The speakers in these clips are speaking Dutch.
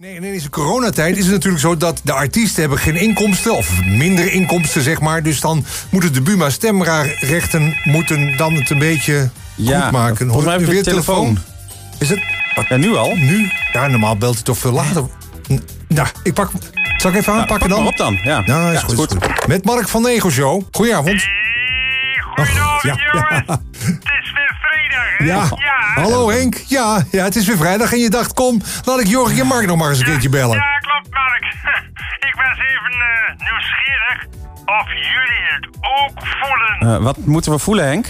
Nee, en in deze coronatijd is het natuurlijk zo dat de artiesten hebben geen inkomsten, of minder inkomsten, zeg maar. Dus dan moeten de Buma stemrechten moeten dan het een beetje Ja, goed maken. volgens mij Hoor- heb ik een Is het Oh, Ja, nu al? nu? Ja, normaal belt hij toch veel later. N- Nou, ik pak. Zal ik even aanpakken Nou, pak dan? maar op dan, ja. Nou, is Ja, goed, is is goed. goed. Met Mark van Ego Show. Goedenavond. Goedenavond, ja, jongens. Het is weer vrijdag, hè? Ja. Hallo Henk. Ja, ja, het is weer vrijdag en je dacht, kom, laat ik Jorg en Mark nog maar eens een keertje bellen. Ja, klopt, Mark. Ik was even eh, nieuwsgierig of jullie het ook voelen. Eh, wat moeten we voelen, Henk?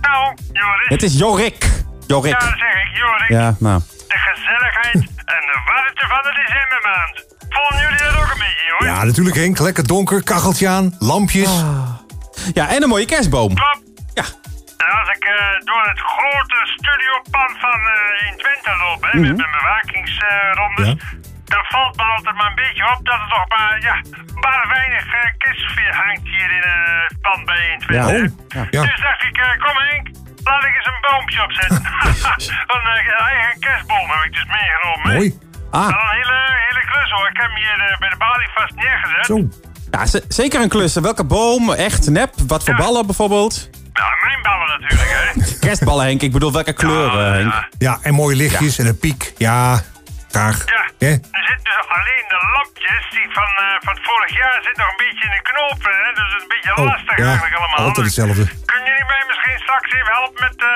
Nou, Joris, Het is Jorik. ja, dat Jorik. zeg ik, Joris. Ja, nou. De gezelligheid en de warmte van de decembermaand. Vonden jullie dat ook een beetje, hoor? Ja, natuurlijk Henk. Lekker donker, kacheltje aan, lampjes. Ja, en een mooie kerstboom. Klopt. Ja. En als ik eh, door het grote studiopan van eh, in Twente loop, hè, met mijn bewakingsrondes, Mhm. Ja. dan valt me altijd maar een beetje op dat er toch maar, ja, maar weinig eh kerstfeer hangt hier in eh, het pand bij in Twente. Ja. hè. Ja. Ja. Dus dacht ik, eh, kom Henk, laat ik eens een boompje opzetten. een eh, eigen kerstboom heb ik dus meegenomen. hè. Mooi. Wel Ah, een hele, hele klus hoor, ik heb hem hier eh, bij de balie vast neergezet. Zo. ja, z- zeker een klus. Welke boom? Echt nep? Wat voor ballen bijvoorbeeld? Nou, mijn ballen natuurlijk, hè. Kerstballen, Henk. Ik bedoel, welke eh, kleuren, Ah, Henk? ja. Ja, en mooie lichtjes en een piek. Ja, graag. Ja, Hè? er zitten dus alleen de lampjes die van, eh, van vorig jaar zitten nog een beetje in de knoop. Hè? Dus het is een beetje Oh, lastig ja, eigenlijk allemaal. altijd Dus hetzelfde. kunnen jullie mij misschien straks even helpen met, eh,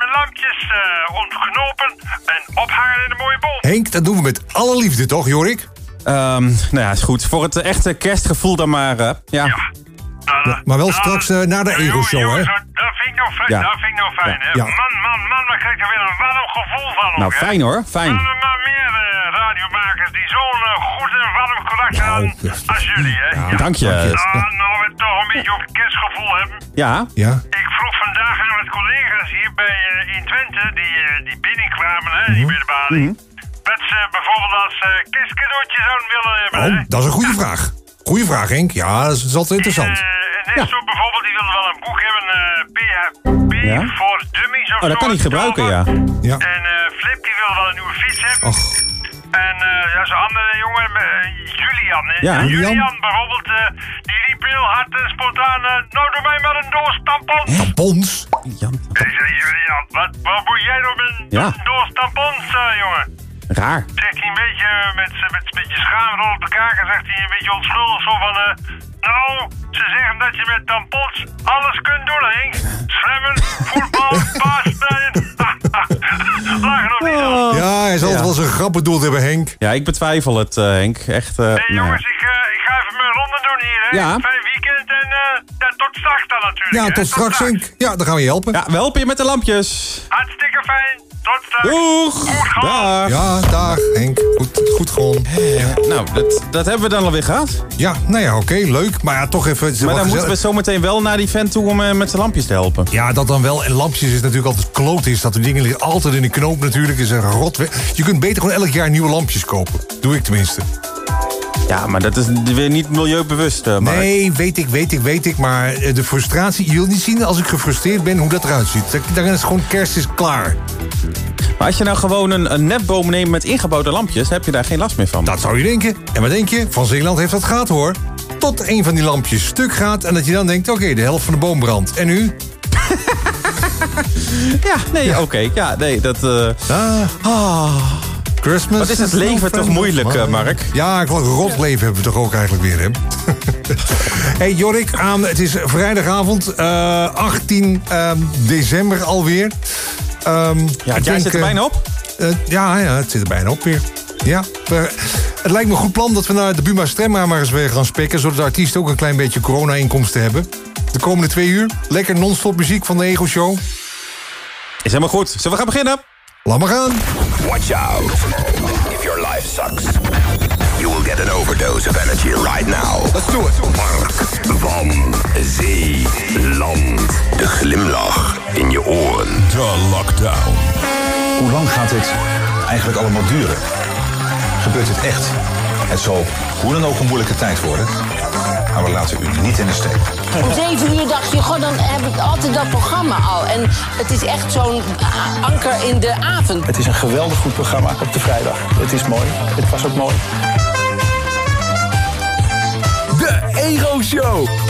met lampjes eh, ontknopen en ophangen in een mooie boom? Henk, dat doen we met alle liefde, toch, Jorik? Ehm, nou ja, is goed. Voor het eh, echte kerstgevoel dan maar. eh, ja. Nou, dat- maar wel nou, straks, dat- eh, na de Jongen, Ego-show, jongen, hè? zo- Dat vind ik nou fijn, Ja. dat vind ik nou fijn, Ja, hè? ja. Man, man, man, dan krijg je weer een warm gevoel van Nou, ook, hè? fijn hoor. Fijn. Zijn er maar meer eh, radiomakers die zo'n eh, goed en warm karakter Nou, hebben dat- als jullie, hè? Ja. Dank je. Ah, nou, we het toch een beetje over het kerstgevoel hebben. Ja. Ja. Ik vroeg vandaag aan wat collega's hier bij eh, in Twente, die, eh, die binnenkwamen, hè, Mhm. die bij de balie. Wat ze bijvoorbeeld als eh, kerstcadeautje zouden willen hebben, hè? Oh, dat is een goede vraag. Goeie vraag, Henk. Ja, dat is, dat is altijd interessant. Eh, en is zo bijvoorbeeld, die willen wel een boek hebben, eh PHP Ja. voor Dummies of Oh, dat zo, kan hij het gebruiken, zal ja. wat. Ja. En eh, Flip, die wil wel een nieuwe fiets hebben. Och. En eh, ja, zo'n andere jongen, eh, Julian. hè. Ja, Julian. Julian bijvoorbeeld, eh, die riep heel hard en spontaan... eh, nou, doe mij maar een doos tampons. Tampons. Jan, Ik zei, Julian, wat, wat moet jij nou met een Ja. doos tampons, eh, jongen? raar. Zegt hij een beetje eh, met, z'n- met een beetje schaamrol op elkaar. Zegt hij een beetje onschuldig zo van... eh, nou, ze zeggen dat je met tampons alles kunt doen, Henk. Zwemmen, voetbal, paasnijden. Lachen nog niet aan. Oh. Ja, hij zal het wel zijn grap bedoeld hebben, Henk. Ja, ik betwijfel het, eh, Henk. Echt. eh, Hey, nou ja. jongens, ik, eh, ik ga even mijn ronde doen hier, hè. Ja. Fijn weekend en eh, ja, tot straks dan natuurlijk. Ja, hè. tot straks, Henk. Ja, dan gaan we je helpen. Ja, we helpen je met de lampjes. Hartstikke fijn. Tot straks. Doeg! Goed, Dag! Ja, dag, Henk. Goed, goed gewoon. Nou, dat, dat hebben we dan alweer gehad. Ja, nou ja, oké, leuk. Maar ja, toch even... het is Maar wel dan moeten gezellig. we zometeen wel naar die vent toe om eh, met zijn lampjes te helpen. Ja, dat dan wel. En lampjes is natuurlijk altijd kloot is. Dat de dingen liggen altijd in de knoop natuurlijk. Is een rot. Je kunt beter gewoon elk jaar nieuwe lampjes kopen. Doe ik tenminste. Ja, maar dat is weer niet milieubewust, eh, Mark. Nee, weet ik, weet ik, weet ik. Maar eh, de frustratie... Je wilt niet zien als ik gefrustreerd ben hoe dat eruit ziet. Dat- Dan is het gewoon kerst is klaar. Maar als je nou gewoon een, een nepboom neemt met ingebouwde lampjes, heb je daar geen last meer van. Dat zou je denken. En wat denk je? Van Zeeland heeft dat gehad hoor. Tot een van die lampjes stuk gaat en dat je dan denkt... oké, de helft van de boom brandt. En nu? Ja, nee, oké. Ja, nee, dat... eh, Ah, Christmas. Wat is het is leven November. toch moeilijk, eh, Mark? Ja, ik een rot leven hebben we toch ook eigenlijk weer, hè? hey Jorik, aan, het is vrijdagavond, eh, 18 ehm, december alweer. Ehm, ja, ik jij denk, zit er eh, bijna op. eh, ja, ja, het zit er bijna op weer. Ja, we- het lijkt me een goed plan dat we naar de Buma Stremma maar eens weer gaan spikken... zodat de artiesten ook een klein beetje corona-inkomsten hebben. De komende twee uur, lekker non-stop muziek van de Ego Show. Is helemaal goed. Zullen we gaan beginnen? Laat maar gaan. Watch out. If your life sucks, you will get an overdose of energy right now. Let's do it. Mark van Zeeland. De glimlach in je oren. De lockdown. Hoe lang gaat dit eigenlijk allemaal duren? Gebeurt het echt? Het zal hoe dan ook een moeilijke tijd worden. Maar we laten u niet in de steek. Om zeven uur dacht je, goh, dan heb ik altijd dat programma al. En het is echt zo'n a- anker in de avond. Het is een geweldig goed programma op de vrijdag. Het is mooi. Het was ook mooi. De Ego Show.